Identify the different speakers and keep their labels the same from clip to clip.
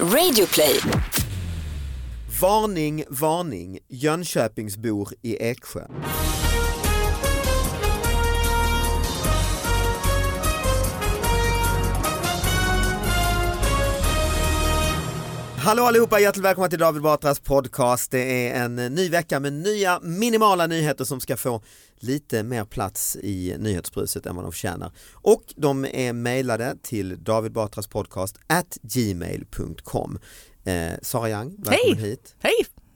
Speaker 1: Radioplay.
Speaker 2: Varning, varning, Jönköpingsbor i Eksjö. Hallå allihopa, hjärtligt välkomna till David Batras podcast. Det är en ny vecka med nya minimala nyheter som ska få lite mer plats i nyhetsbruset än vad de förtjänar. Och de är mejlade till davidbatraspodcast at gmail.com. Eh, Sara Young, välkommen
Speaker 3: Hej.
Speaker 2: hit.
Speaker 3: Hej!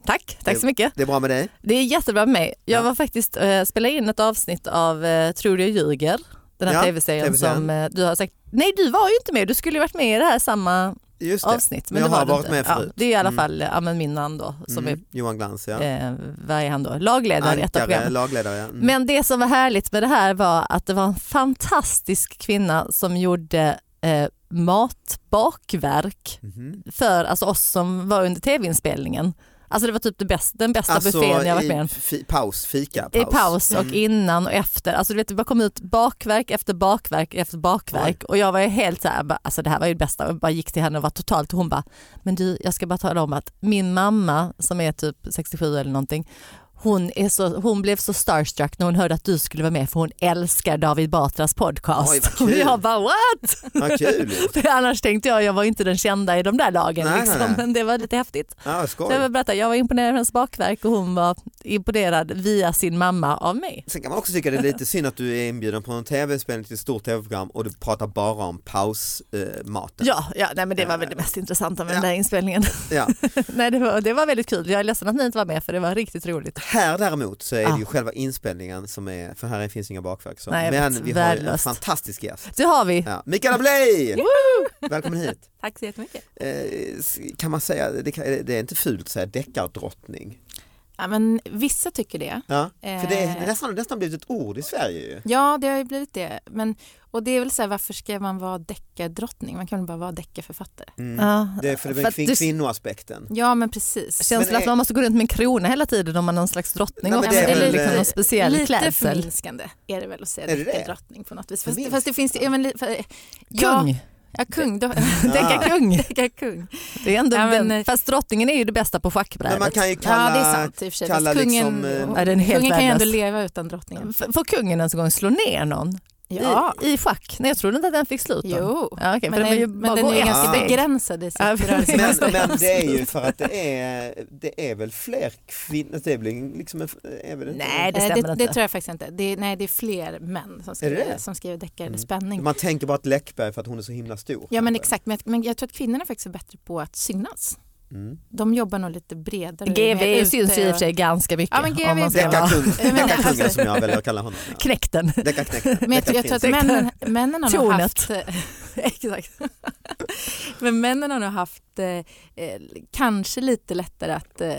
Speaker 3: Tack, tack så mycket.
Speaker 2: Det är bra med dig?
Speaker 3: Det är jättebra med mig. Jag
Speaker 2: Ja.
Speaker 3: var faktiskt, eh, spelade in ett avsnitt av eh, Tror du jag ljuger? Den här
Speaker 2: Ja,
Speaker 3: tv-serien
Speaker 2: TV-serien.
Speaker 3: som eh, du har sagt, nej du var ju inte med, du skulle ju varit med i det här samma
Speaker 2: Just det.
Speaker 3: avsnitt.
Speaker 2: jag
Speaker 3: det
Speaker 2: har
Speaker 3: var du
Speaker 2: varit
Speaker 3: inte.
Speaker 2: med
Speaker 3: ja,
Speaker 2: förut.
Speaker 3: Det är i alla
Speaker 2: Mm.
Speaker 3: fall eh, ja, men min man då, som
Speaker 2: Mm, Johan Glans ja.
Speaker 3: är, eh, vad är han då, lagledare i ett av
Speaker 2: Ankare,
Speaker 3: programmen.
Speaker 2: lagledare. ja. Mm.
Speaker 3: Men det som var härligt med det här var att det var en fantastisk kvinna som gjorde eh, matbakverk
Speaker 2: Mhm.
Speaker 3: för alltså, oss som var under tv-inspelningen. Alltså det var typ det bäst, den bästa
Speaker 2: Alltså
Speaker 3: buffén jag varit
Speaker 2: i
Speaker 3: med om.
Speaker 2: fi- paus, fika,
Speaker 3: I
Speaker 2: paus.
Speaker 3: paus och
Speaker 2: Mm.
Speaker 3: innan och efter. Alltså du vet det bara kom ut bakverk efter bakverk efter bakverk och jag var ju helt så här, bara, alltså det här var ju det bästa. Jag bara gick till henne och var totalt, hon bara, men du jag ska bara tala om att min mamma som är typ 67 eller någonting, hon, är så, hon blev så starstruck när hon hörde att du skulle vara med för hon älskar David Batras podcast.
Speaker 2: Oj, vad
Speaker 3: och
Speaker 2: kul.
Speaker 3: jag bara what?
Speaker 2: Vad kul.
Speaker 3: För annars tänkte jag, jag var ju inte den kända i de där lagen
Speaker 2: Nej, nej,
Speaker 3: liksom,
Speaker 2: nej.
Speaker 3: men det var lite häftigt.
Speaker 2: Ja,
Speaker 3: Så jag,
Speaker 2: skoj.
Speaker 3: vill berätta, jag var imponerad av hennes bakverk och hon var imponerad via sin mamma av mig.
Speaker 2: Sen kan man också tycka det är lite synd att du är inbjuden på en tv-spelning till ett stort tv-program och du pratar bara om pausmaten. Eh, maten.
Speaker 3: Ja, ja nej, men det var väl det mest intressanta med
Speaker 2: Ja.
Speaker 3: den där inspelningen.
Speaker 2: Ja.
Speaker 3: nej, det, var, det var väldigt kul. Jag är ledsen att ni inte var med för det var riktigt roligt.
Speaker 2: Här däremot så är det
Speaker 3: Ja.
Speaker 2: ju själva inspelningen som är, för här finns inga bakverk. Så.
Speaker 3: Nej, jag
Speaker 2: Men
Speaker 3: vet.
Speaker 2: vi har ju en
Speaker 3: Värdelöst.
Speaker 2: fantastisk gäst.
Speaker 3: Det har vi.
Speaker 2: Ja. Mikaela Bley! Välkommen hit.
Speaker 4: Tack så jättemycket.
Speaker 2: Eh, s- kan man säga, det, kan, det är inte fult att säga deckardrottning.
Speaker 4: Ja, men vissa tycker det.
Speaker 2: Ja. För det är
Speaker 4: Eh.
Speaker 2: nästan, nästan blivit ett ord i Sverige ju.
Speaker 4: Ja, det har ju blivit det. Men, och det är väl så här, varför ska man vara deckardrottning? Man kan väl bara vara deckarförfattare?
Speaker 2: Mm.
Speaker 3: Ja.
Speaker 2: Det är för,
Speaker 3: För att
Speaker 2: kvin-
Speaker 3: du-
Speaker 2: kvinnoaspekten.
Speaker 4: Ja, men precis.
Speaker 3: Känslan
Speaker 2: Men är-
Speaker 3: att man måste gå runt med en krona hela tiden om man är någon slags drottning
Speaker 2: Nej, men
Speaker 3: också.
Speaker 2: det är
Speaker 3: Det är
Speaker 2: väl-
Speaker 3: liksom någon
Speaker 4: lite-
Speaker 3: speciell
Speaker 4: Lite
Speaker 3: klädsel.
Speaker 4: förminskande är det väl att
Speaker 2: Är
Speaker 4: säga
Speaker 2: det det?
Speaker 4: deckardrottning på något vis. Fast,
Speaker 2: Förminskande?
Speaker 4: fast det finns ju... Ja, men, li- för, eh, ja,
Speaker 3: Kung,
Speaker 4: Ja, kung. Då,
Speaker 3: tänka kung.
Speaker 4: deckarkung.
Speaker 3: Det är ändå
Speaker 4: Ja, men-
Speaker 3: den, fast drottningen är ju det bästa på
Speaker 2: Men man
Speaker 3: schackbrädet.
Speaker 2: kan ju
Speaker 4: Ja, det är
Speaker 2: kalla,
Speaker 4: sant i och för sig.
Speaker 2: kalla
Speaker 4: Fast kungen,
Speaker 2: liksom, eh,
Speaker 3: Nej, den är helt
Speaker 4: kungen kan ju ändå
Speaker 3: värdelös.
Speaker 4: leva utan drottningen.
Speaker 3: F- Får kungen ens en gång slå ner någon
Speaker 4: Ja,
Speaker 3: i, i schack? Nej, jag trodde inte att den fick slut. då.
Speaker 4: jo.
Speaker 3: Ja, okej, för
Speaker 4: Men
Speaker 3: den, vill
Speaker 4: den,
Speaker 3: ju
Speaker 4: men
Speaker 3: bara
Speaker 4: den
Speaker 3: gå
Speaker 4: är ju
Speaker 3: ett
Speaker 4: ganska
Speaker 3: steg.
Speaker 4: begränsad i sitt
Speaker 3: Ja,
Speaker 4: rörelse.
Speaker 2: men, men det är ju för att det är, det är väl fler kvinnor, det är väl liksom en, är väl inte
Speaker 3: Nej, det
Speaker 4: Eh,
Speaker 3: stämmer
Speaker 4: det,
Speaker 3: inte.
Speaker 4: det tror jag faktiskt inte. Det är, nej, det är fler män som skriver,
Speaker 2: det?
Speaker 4: Som skriver deckare
Speaker 2: Mm.
Speaker 4: eller spänning.
Speaker 2: Man tänker bara att Läckberg för att hon är så himla stor.
Speaker 4: Ja, men
Speaker 2: kanske.
Speaker 4: exakt. Men, jag- men jag tror att kvinnorna faktiskt är bättre på att synas.
Speaker 2: Mm.
Speaker 4: De jobbar nog lite bredare.
Speaker 3: GV syns ju i och för
Speaker 4: sig.
Speaker 3: sig ganska mycket.
Speaker 4: Ja, men GV
Speaker 3: om man ska
Speaker 4: är bra.
Speaker 3: vara
Speaker 2: Deckarkung-
Speaker 4: men
Speaker 2: Deckarkungen
Speaker 4: alltså-
Speaker 2: som jag väljer att kalla honom. Ja.
Speaker 3: knäckt den.
Speaker 2: Deckarknekten.
Speaker 4: Men jag, tror- jag tror att
Speaker 2: Deckarprinsen.
Speaker 4: männen, männen har nog
Speaker 3: Tornet.
Speaker 4: haft... eh, exakt. men männen har nog haft eh, eh, kanske lite lättare att, eh,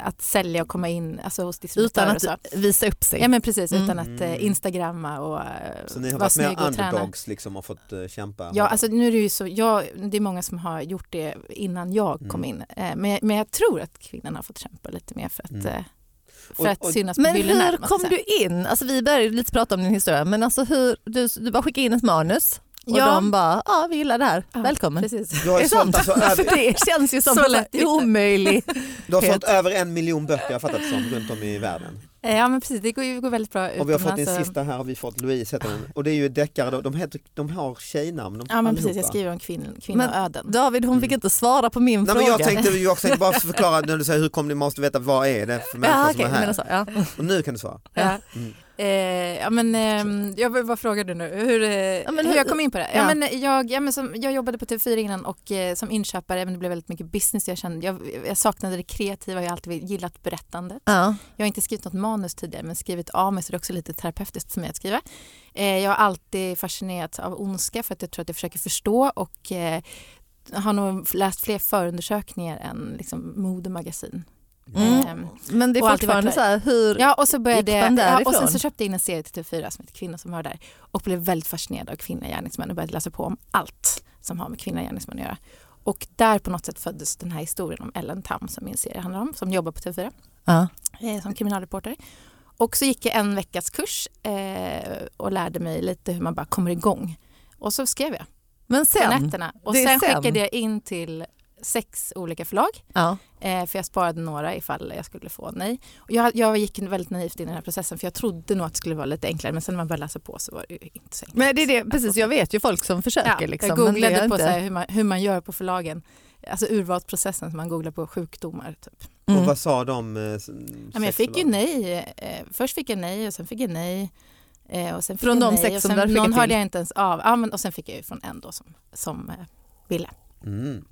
Speaker 4: att sälja och komma in alltså, hos distributörer
Speaker 3: Utan
Speaker 4: och så.
Speaker 3: att visa upp sig.
Speaker 4: Ja, men precis.
Speaker 3: Mm.
Speaker 4: Utan att eh, instagramma och eh,
Speaker 2: Så ni har
Speaker 4: vara
Speaker 2: varit med
Speaker 4: snygg och träna.
Speaker 2: underdogs liksom och fått eh, kämpa?
Speaker 4: Ja, alltså nu är det ju så, jag, det är många som har gjort det innan jag kom
Speaker 2: Mm.
Speaker 4: in. Eh, Men, men jag tror att kvinnan har fått kämpa lite mer för att,
Speaker 2: Mm.
Speaker 4: eh, för
Speaker 2: Och-
Speaker 4: att
Speaker 2: och-
Speaker 4: synas på
Speaker 3: Men
Speaker 4: hyllorna.
Speaker 3: hur
Speaker 4: om man ska
Speaker 3: kom
Speaker 4: säga.
Speaker 3: du in? Alltså, vi började ju lite prata om din historia, men alltså hur, du, du bara skickade in ett manus och
Speaker 4: Ja.
Speaker 3: de bara, ja vi gillar det här,
Speaker 4: Ja,
Speaker 3: välkommen.
Speaker 4: Precis.
Speaker 2: Du har,
Speaker 3: Är
Speaker 2: ju
Speaker 3: det
Speaker 2: sålt,
Speaker 3: sant?
Speaker 2: alltså, över,
Speaker 3: Det känns ju som
Speaker 4: Så
Speaker 3: en
Speaker 4: lätt.
Speaker 3: omöjlig...
Speaker 2: du har sålt
Speaker 3: Helt.
Speaker 2: över en miljon böcker jag har fattat det som runt om i världen.
Speaker 4: Eh, Ja, men precis. Det går, ju- går väldigt bra
Speaker 2: Och vi har fått
Speaker 4: utomlands
Speaker 2: din sista här har vi fått Louise heter hon. Och det är ju deckare, då. de, heter, de har tjejnamn. De,
Speaker 4: Ja, men precis. Jag
Speaker 2: allihopa.
Speaker 4: skriver om kvinn, kvinnoöden.
Speaker 3: David hon fick inte svara på min
Speaker 2: Mm. Nej, men
Speaker 3: fråga.
Speaker 2: jag tänkte ju också jag bara förklara när du säger hur kom ni måste veta vad är det för människor
Speaker 3: ja,
Speaker 2: som
Speaker 3: okej,
Speaker 2: är här.
Speaker 4: alltså-
Speaker 3: men så, ja.
Speaker 2: Och nu kan du svara.
Speaker 4: Ja.
Speaker 2: Mm.
Speaker 4: Eh, ja, men, ehm, jag vill bara fråga dig nu hur, eh,
Speaker 3: men
Speaker 4: hur
Speaker 3: hur-
Speaker 4: jag kom in på det. Ja,
Speaker 3: ja.
Speaker 4: men, eh, jag, ja, men som, jag jobbade på TV4 innan och eh, som inköpare, men det blev väldigt mycket business. Jag, kände, jag, jag saknade det kreativa, jag har alltid gillat berättande.
Speaker 3: Ja.
Speaker 4: Jag har inte skrivit något manus tidigare men skrivit av mig så det är också lite terapeutiskt för mig att skriva. Eh, jag har alltid fascinerats av ondska för att jag tror att jag försöker förstå och eh, har nog läst fler förundersökningar än liksom, modemagasin.
Speaker 3: Mm.
Speaker 4: Ehm,
Speaker 3: Men det är
Speaker 4: Och alltid
Speaker 3: fortfarande
Speaker 4: varit
Speaker 3: så här, hur...
Speaker 4: ja, och, så började,
Speaker 3: gick man
Speaker 4: ja, och
Speaker 3: därifrån?
Speaker 4: sen så köpte jag in en serie till TV4 som heter Kvinnor som hör där och blev väldigt fascinerad av kvinnliga gärningsmän och började läsa på om allt som har med kvinnliga gärningsmän att göra. Och där på något sätt föddes den här historien om Ellen Tam som min serie handlar om, som jobbar på TV4
Speaker 3: Ja.
Speaker 4: eh, som kriminalreporter. Och så gick jag en veckas kurs eh, och lärde mig lite hur man bara kommer igång. Och så skrev jag
Speaker 3: Men
Speaker 4: på
Speaker 3: sen,
Speaker 4: nätterna och
Speaker 3: Det är
Speaker 4: sen,
Speaker 3: sen.
Speaker 4: skickade jag in till sex olika förlag.
Speaker 3: Ja.
Speaker 4: Eh, för jag sparade några ifall jag skulle få nej. Och jag, jag gick väldigt naivt in i den här processen för jag trodde nog att det skulle vara lite enklare men sen när man började läsa på så var det ju inte så enkelt.
Speaker 3: Men det är det, precis, jag vet ju folk som försöker.
Speaker 4: Ja,
Speaker 3: liksom,
Speaker 4: jag
Speaker 3: men det
Speaker 4: googlade
Speaker 3: gör
Speaker 4: på
Speaker 3: inte-
Speaker 4: så här, hur, man, hur man gör på förlagen. Alltså urvalsprocessen som man googlar på sjukdomar. Typ.
Speaker 3: Mm.
Speaker 2: Och vad sa de? eh, s-
Speaker 4: Ja, men jag fick ju
Speaker 2: sexbolag?
Speaker 4: nej. Eh, först fick jag nej och sen fick jag nej. Eh, och sen fick
Speaker 3: Från
Speaker 4: jag
Speaker 3: de
Speaker 4: nej,
Speaker 3: sex
Speaker 4: och
Speaker 3: som
Speaker 4: sen,
Speaker 3: du hade skickat
Speaker 4: Någon hörde
Speaker 3: till?
Speaker 4: jag inte ens av. Ja, men, och sen fick jag ju från en då som, som eh, ville.
Speaker 2: Mm.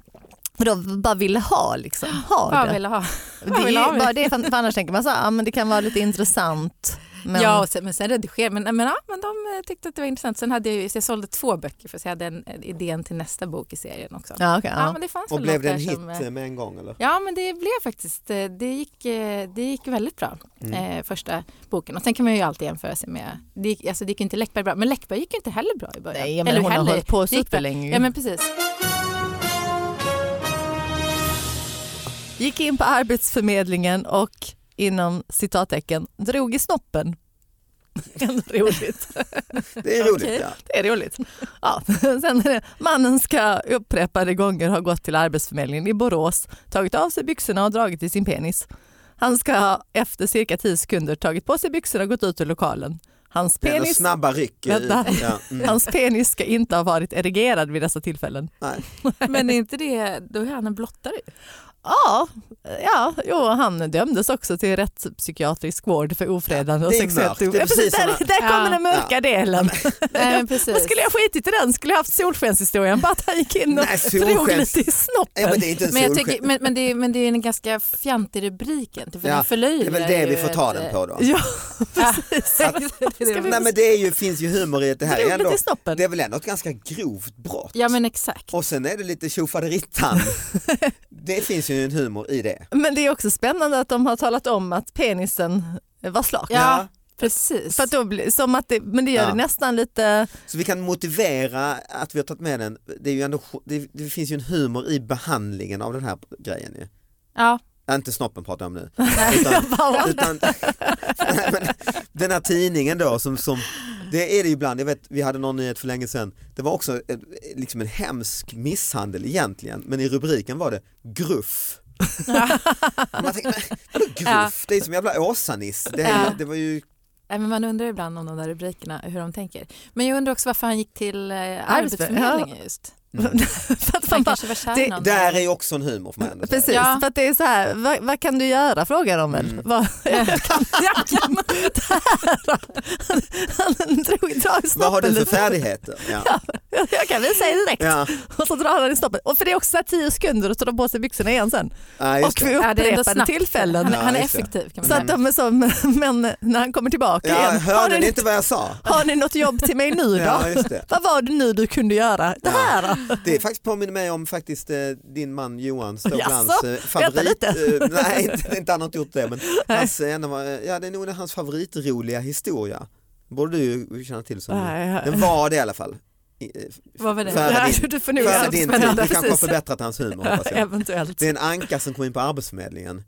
Speaker 3: Vadå, bara ville ha liksom? Ha
Speaker 4: Ja,
Speaker 3: det.
Speaker 4: ville ha.
Speaker 3: Det är
Speaker 4: ville ha
Speaker 3: ju
Speaker 4: det.
Speaker 3: bara det, för för annars tänker man så här, ah, men det kan vara lite intressant. Men,
Speaker 4: Ja, och sen, men sen redigerade men, men, ja, men de eh, tyckte att det var intressant. Sen hade jag ju, så jag sålde två böcker för så jag hade en, en idén till nästa bok i serien också. Ja,
Speaker 3: ja, okej, ja.
Speaker 4: men det fanns
Speaker 2: Och
Speaker 4: väl
Speaker 2: blev
Speaker 4: något
Speaker 2: det en
Speaker 4: där
Speaker 2: hit
Speaker 4: som, eh,
Speaker 2: eh, med en gång eller?
Speaker 4: Ja, men det blev faktiskt, eh, det gick, eh, det gick väldigt bra,
Speaker 2: Mm.
Speaker 4: eh, första boken. Och sen kan man ju alltid jämföra sig med, det gick, alltså det gick inte Läckberg bra, men Läckberg gick ju inte heller bra i början.
Speaker 3: Nej, men hon har hållit på
Speaker 4: det gick bra.
Speaker 3: superlänge.
Speaker 4: Ja, men precis.
Speaker 3: Gick in på Arbetsförmedlingen och inom citattecken drog i snoppen. Ändå roligt.
Speaker 2: Det är roligt
Speaker 3: Okej.
Speaker 2: ja.
Speaker 3: Det är roligt. Ja. Sen är det, mannen ska upprepade gånger ha gått till Arbetsförmedlingen i Borås, tagit av sig byxorna och dragit i sin penis. Han ska ha efter cirka 10 sekunder tagit på sig byxorna och gått ut ur lokalen. Hans
Speaker 2: Det är ändå
Speaker 3: penis,
Speaker 2: snabba ryck. eh, ut.
Speaker 3: Vänta.
Speaker 2: Ja. Mm.
Speaker 3: hans penis ska inte ha varit erigerad vid dessa tillfällen.
Speaker 2: Nej.
Speaker 4: Men är inte det, då är han en blottare.
Speaker 3: Ja, ja jo, han dömdes också till rättspsykiatrisk vård för ofredande och
Speaker 2: Det är
Speaker 3: sexuellt
Speaker 2: mörkt, det är
Speaker 3: ofredande.
Speaker 2: precis
Speaker 3: Där,
Speaker 2: såna-
Speaker 3: där kommer
Speaker 4: Ja.
Speaker 3: den mörka delen.
Speaker 4: Nej, men
Speaker 3: Då
Speaker 4: precis.
Speaker 3: skulle jag skitit i den, skulle jag haft solskenshistorien, bara att han gick in och
Speaker 2: Nej,
Speaker 3: drog
Speaker 2: solskens-
Speaker 3: lite i
Speaker 2: Ja,
Speaker 3: snoppen.
Speaker 2: men det är inte en
Speaker 4: Men, jag
Speaker 2: solsken.
Speaker 4: tycker, men, men, det är, men det är en ganska fjantig rubrik inte, för
Speaker 2: Ja,
Speaker 4: den förlöjligar
Speaker 2: Det är väl det vi
Speaker 4: ju eh,
Speaker 2: får ta
Speaker 4: ett,
Speaker 2: den på då.
Speaker 3: Ja,
Speaker 4: Ja.
Speaker 3: precis.
Speaker 4: eh, det är det
Speaker 3: Ska
Speaker 4: vi-
Speaker 3: vi-
Speaker 2: Nej men det är ju, finns ju humor i det här. Det är,
Speaker 3: Drog lite
Speaker 2: ändå,
Speaker 3: i snoppen.
Speaker 2: det är väl ändå ett ganska grovt brott.
Speaker 4: Ja men exakt.
Speaker 2: Och sen är det lite tjofaderittan. det finns ju en humor i det.
Speaker 3: Men det är också spännande att de har talat om att penisen var slak.
Speaker 4: Ja,
Speaker 2: Ja.
Speaker 4: precis.
Speaker 3: För att då blir, som att det, men det gör
Speaker 2: Ja.
Speaker 3: det nästan lite,
Speaker 2: Så vi kan motivera att vi har tagit med den. Det, är ju ändå, det, det finns ju en humor i behandlingen av den här grejen ju.
Speaker 4: ja.
Speaker 2: Ja, Inte snoppen pratar jag om nu. Utan, utan, Nej, men den här tidningen då som, som det är det ju ibland, jag vet vi hade någon nyhet för länge sedan, det var också eh, liksom en hemsk misshandel egentligen men i rubriken var det gruff. Man tänker, men, vadå gruff? Det är som jävla Åsa-Nisse. Det, är-
Speaker 4: Ja.
Speaker 2: det var ju,
Speaker 4: Nej, men man undrar ibland om de där rubrikerna, hur de tänker. Men jag undrar också varför han gick till eh,
Speaker 3: Arbetsför- ja.
Speaker 4: Arbetsförmedlingen just.
Speaker 2: mm.
Speaker 3: för att
Speaker 4: Han
Speaker 3: man bara,
Speaker 4: kanske var kär
Speaker 3: det-
Speaker 4: i någon.
Speaker 2: Där är ju också en humor får man ändå säga.
Speaker 3: Precis,
Speaker 4: Ja.
Speaker 3: för att det är så här, vad, vad kan du göra frågar de väl.
Speaker 2: Mm.
Speaker 3: Vad,
Speaker 4: Ja, kan man-
Speaker 3: han drog, drar i
Speaker 2: Vad har
Speaker 3: snoppen
Speaker 2: du för
Speaker 3: lite.
Speaker 2: färdigheter? Ja.
Speaker 3: Jag kan väl säga det direkt.
Speaker 2: Ja.
Speaker 3: Och så drar han i snoppen. Och för det är också så här tio sekunder och så tar de på sig byxorna igen sen.
Speaker 2: Ja, just
Speaker 3: och vid
Speaker 2: det.
Speaker 4: Ja, det är ändå
Speaker 3: upprepade
Speaker 4: snabbt.
Speaker 3: tillfällen.
Speaker 4: Han,
Speaker 2: Ja,
Speaker 4: han är
Speaker 2: just det.
Speaker 4: effektiv kan man
Speaker 3: Så
Speaker 4: säga.
Speaker 3: att de är som män när han kommer tillbaka
Speaker 2: Ja,
Speaker 3: igen. Har
Speaker 2: hörde
Speaker 3: ni,
Speaker 2: ni inte vad jag sa?
Speaker 3: har ni något jobb till mig nu då?
Speaker 2: Ja, just det.
Speaker 3: Vad var det nu du kunde göra? Det
Speaker 2: Ja.
Speaker 3: här då?
Speaker 2: Det är faktiskt påminner mig om faktiskt eh, din man Johan Ståblands
Speaker 3: Jaså?
Speaker 2: eh, favorit.
Speaker 3: lite.
Speaker 2: eh, nej, inte, inte han har inte gjort det men hans, eh, en av, eh, ja, det är nog hans favoritroliga historia. Borde du ju känna till som
Speaker 3: Nej, ja.
Speaker 2: Den var det i alla fall. I- eh,
Speaker 4: Vad var det?
Speaker 2: Före
Speaker 3: Ja,
Speaker 2: din-
Speaker 3: du får nu
Speaker 2: Före
Speaker 3: göra
Speaker 2: din tid,
Speaker 3: spännande,
Speaker 2: du kanske har
Speaker 3: precis.
Speaker 2: förbättrat hans humor hoppas jag.
Speaker 3: Eventuellt.
Speaker 2: Det är en anka som kom in på Arbetsförmedlingen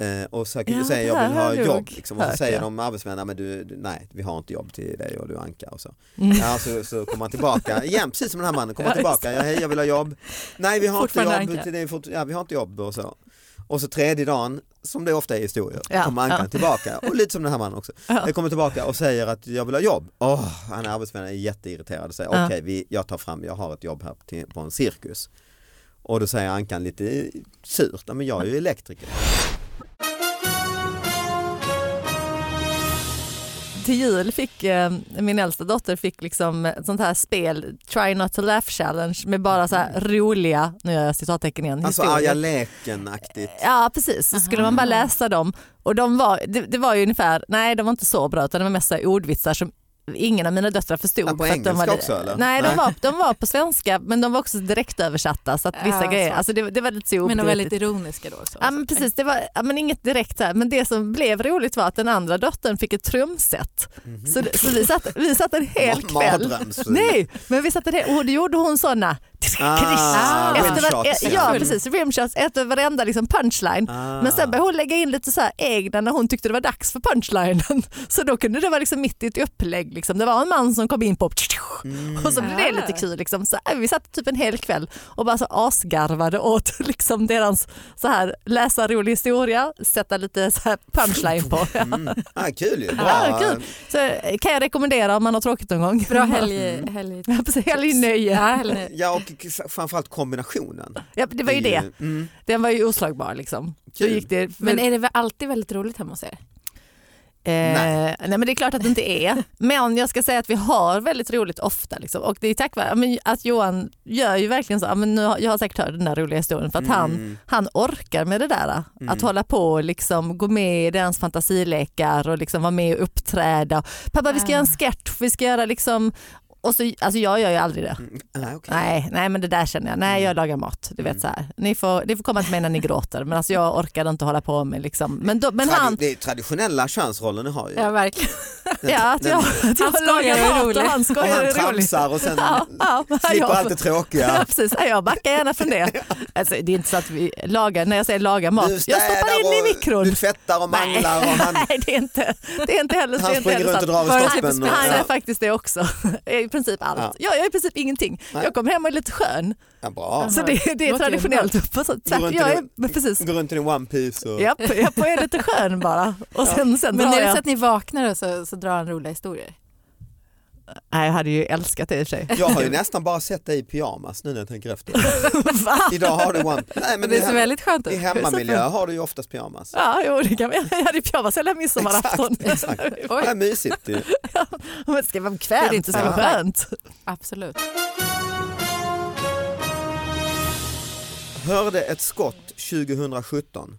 Speaker 2: eh, och söker,
Speaker 3: Ja,
Speaker 2: säger
Speaker 3: det här
Speaker 2: jag vill ha
Speaker 3: har jag
Speaker 2: jobb
Speaker 3: nog
Speaker 2: liksom, och så
Speaker 3: hört,
Speaker 2: säger
Speaker 3: ja.
Speaker 2: de Arbetsförmedlingen men du, du, nej vi har inte jobb till dig och du är anka och så.
Speaker 3: Mm.
Speaker 2: Ja, så, så kommer han tillbaka, igen precis som den här mannen, kommer han tillbaka, ja, hej jag vill ha jobb, nej vi har inte
Speaker 4: Fortfarande
Speaker 2: jobb,
Speaker 4: anka.
Speaker 2: till dig, fort, ja, vi har inte jobb och så. Och så tredje dagen, som det ofta är i historier,
Speaker 3: Ja,
Speaker 2: kommer ankan
Speaker 3: ja.
Speaker 2: tillbaka och lite som den här mannen också.
Speaker 3: Ja.
Speaker 2: Jag kommer tillbaka och säger att jag vill ha jobb. Åh, han är arbetsförmedlare, är jätteirriterad och säger
Speaker 3: Ja.
Speaker 2: okej vi jag tar fram, jag har ett jobb här till, på en cirkus. Och då säger ankan lite surt, "Ja, men jag är ju elektriker.
Speaker 3: till jul fick eh, min äldsta dotter fick liksom ett sånt här spel, Try Not To Laugh Challenge med bara så här roliga, nu gör jag citattecken igen,
Speaker 2: Alltså
Speaker 3: historier.
Speaker 2: arga leken-aktigt.
Speaker 3: Ja precis, så skulle man bara läsa dem. Och de var, det, det var ju ungefär, nej de var inte så bra utan det var mest så här ordvitsar som ingen av mina döttrar förstod.
Speaker 2: Ja, på
Speaker 3: att de
Speaker 2: engelska också, eller?
Speaker 3: Nej,
Speaker 2: Nej.
Speaker 3: de var, de var på svenska men de var också direktöversatta så att vissa
Speaker 4: Ja,
Speaker 3: grejer,
Speaker 4: så.
Speaker 3: alltså det, det var lite så
Speaker 4: Men de var
Speaker 3: obegripligt.
Speaker 4: lite ironiska då också.
Speaker 3: Ja, men precis, det var ja, men inget direkt så här. men det som blev roligt var att den andra dottern fick ett trumset. Så, det- så vi, satt, vi satt en hel
Speaker 2: Mhm. Ma-
Speaker 3: kväll.
Speaker 2: mardröms-
Speaker 3: Nej, men vi satt en hel, och då gjorde hon sådana.
Speaker 2: Ah,
Speaker 3: efter var,
Speaker 2: rimshots,
Speaker 3: ja,
Speaker 2: ja.
Speaker 3: precis, rimshots efter varenda liksom punchline.
Speaker 2: Ah.
Speaker 3: Men sen började hon lägga in lite så här egna när hon tyckte det var dags för punchlinen. Så då kunde det vara liksom mitt i ett upplägg drag. Liksom. Det var en man som kom in på och så blev det
Speaker 4: Mm.
Speaker 3: lite kul. Liksom. Så, äh, vi satt typ en hel kväll och bara så asgarvade åt liksom, deras så här, läsa rolig historia, sätta lite så här punchline på.
Speaker 2: Mm. Ah, kul ju. Bra.
Speaker 3: Ja, kul. Så, eh, kan jag rekommendera om man har tråkigt någon gång.
Speaker 4: Bra helg... helg.
Speaker 3: Mm. Ja, precis, Helgnöje.
Speaker 4: Ja, helgnöje.
Speaker 2: Ja, och f- framförallt kombinationen.
Speaker 3: Ja, det var ju det.
Speaker 2: Mm,
Speaker 3: Den var ju oslagbar liksom. Så
Speaker 2: Kul.
Speaker 3: gick det,
Speaker 4: Men är det väl alltid väldigt roligt hemma hos er?
Speaker 3: Eh,
Speaker 2: Nej.
Speaker 3: nej. men det är klart att det inte är. Men jag ska säga att vi har väldigt roligt ofta. Liksom. Och det är tack vare ja, men att Johan gör ju verkligen så, ja, men nu har, jag har säkert hört den där roliga historien för att han,
Speaker 2: Mm.
Speaker 3: han orkar med det där. Att hålla på och liksom, gå med i deras fantasilekar och liksom, vara med och uppträda. Pappa vi ska
Speaker 4: Ah.
Speaker 3: göra en sketch, vi ska göra liksom och så, alltså jag gör ju aldrig
Speaker 2: mm,
Speaker 3: det.
Speaker 2: Nej, okej.
Speaker 3: Nej, nej men det där känner jag, nej jag lagar mat. Du vet så här. Ni, får, ni får komma till mig när ni gråter men alltså jag orkar inte hålla på med liksom. Men, då, men
Speaker 2: Tradi-
Speaker 3: han,
Speaker 2: Det är traditionella könsroller ni har ju.
Speaker 4: Ja, verkligen.
Speaker 3: Ja, att jag, att jag
Speaker 4: Han skojar
Speaker 3: lagar
Speaker 4: är
Speaker 3: mat och
Speaker 4: roligt.
Speaker 3: han
Speaker 2: och
Speaker 3: skojar
Speaker 2: han
Speaker 3: är roligt.
Speaker 2: tramsar och sen
Speaker 3: Ja, ja, men
Speaker 2: slipper
Speaker 3: jag-
Speaker 2: allt det
Speaker 3: Ja,
Speaker 2: tråkiga.
Speaker 3: precis. Ja, Jag backar gärna från det. Alltså, det är inte så att vi lagar, när jag säger laga mat,
Speaker 2: Du
Speaker 3: jag
Speaker 2: städar
Speaker 3: stoppar in i
Speaker 2: och
Speaker 3: mikron.
Speaker 2: Du tvättar och manglar och han,
Speaker 3: Nej, det är inte, det är inte heller
Speaker 2: han
Speaker 3: det är inte
Speaker 2: springer
Speaker 3: heller
Speaker 2: runt och
Speaker 3: sant.
Speaker 2: drar
Speaker 4: Bara
Speaker 2: i
Speaker 4: typ
Speaker 2: snoppen. Och,
Speaker 3: Han
Speaker 2: ja.
Speaker 3: är faktiskt det också. I princip allt.
Speaker 2: Ja.
Speaker 3: Ja. Jag gör i princip ingenting.
Speaker 2: Nej.
Speaker 3: Jag kommer hem och är lite skön.
Speaker 2: Ja, bra.
Speaker 3: Så det, det är
Speaker 4: Låter
Speaker 3: traditionellt. Så
Speaker 2: Går
Speaker 3: Tvärt,
Speaker 2: runt i
Speaker 3: jag
Speaker 2: det-
Speaker 3: är, men precis.
Speaker 2: Går runt i din one piece och...
Speaker 3: Japp, japp, och är lite skön bara. Och sen, sen
Speaker 4: Men
Speaker 3: drar
Speaker 4: är det
Speaker 3: jag.
Speaker 4: så att ni vaknar och så, så drar han roliga historier?
Speaker 3: Nej, jag hade ju älskat det i och för sig.
Speaker 2: Jag har ju nästan bara sett dig i pyjamas nu när jag tänker efter.
Speaker 3: Va?
Speaker 2: Idag har du one Nej, men
Speaker 4: det
Speaker 2: i,
Speaker 4: ser
Speaker 2: he-
Speaker 4: väldigt skönt
Speaker 2: i
Speaker 4: ut.
Speaker 2: hemmamiljö har du ju oftast pyjamas.
Speaker 3: Ja, jo, det kan vi. Jag hade ju pyjamas hela midsommarafton.
Speaker 2: Exakt, exakt. Det är mysigt ju.
Speaker 3: Men ska vara
Speaker 4: Det
Speaker 3: bekvämt,
Speaker 4: är
Speaker 3: det
Speaker 4: inte
Speaker 3: ska vara
Speaker 4: så.
Speaker 3: skönt.
Speaker 4: Absolut.
Speaker 2: Hörde ett skott 2017.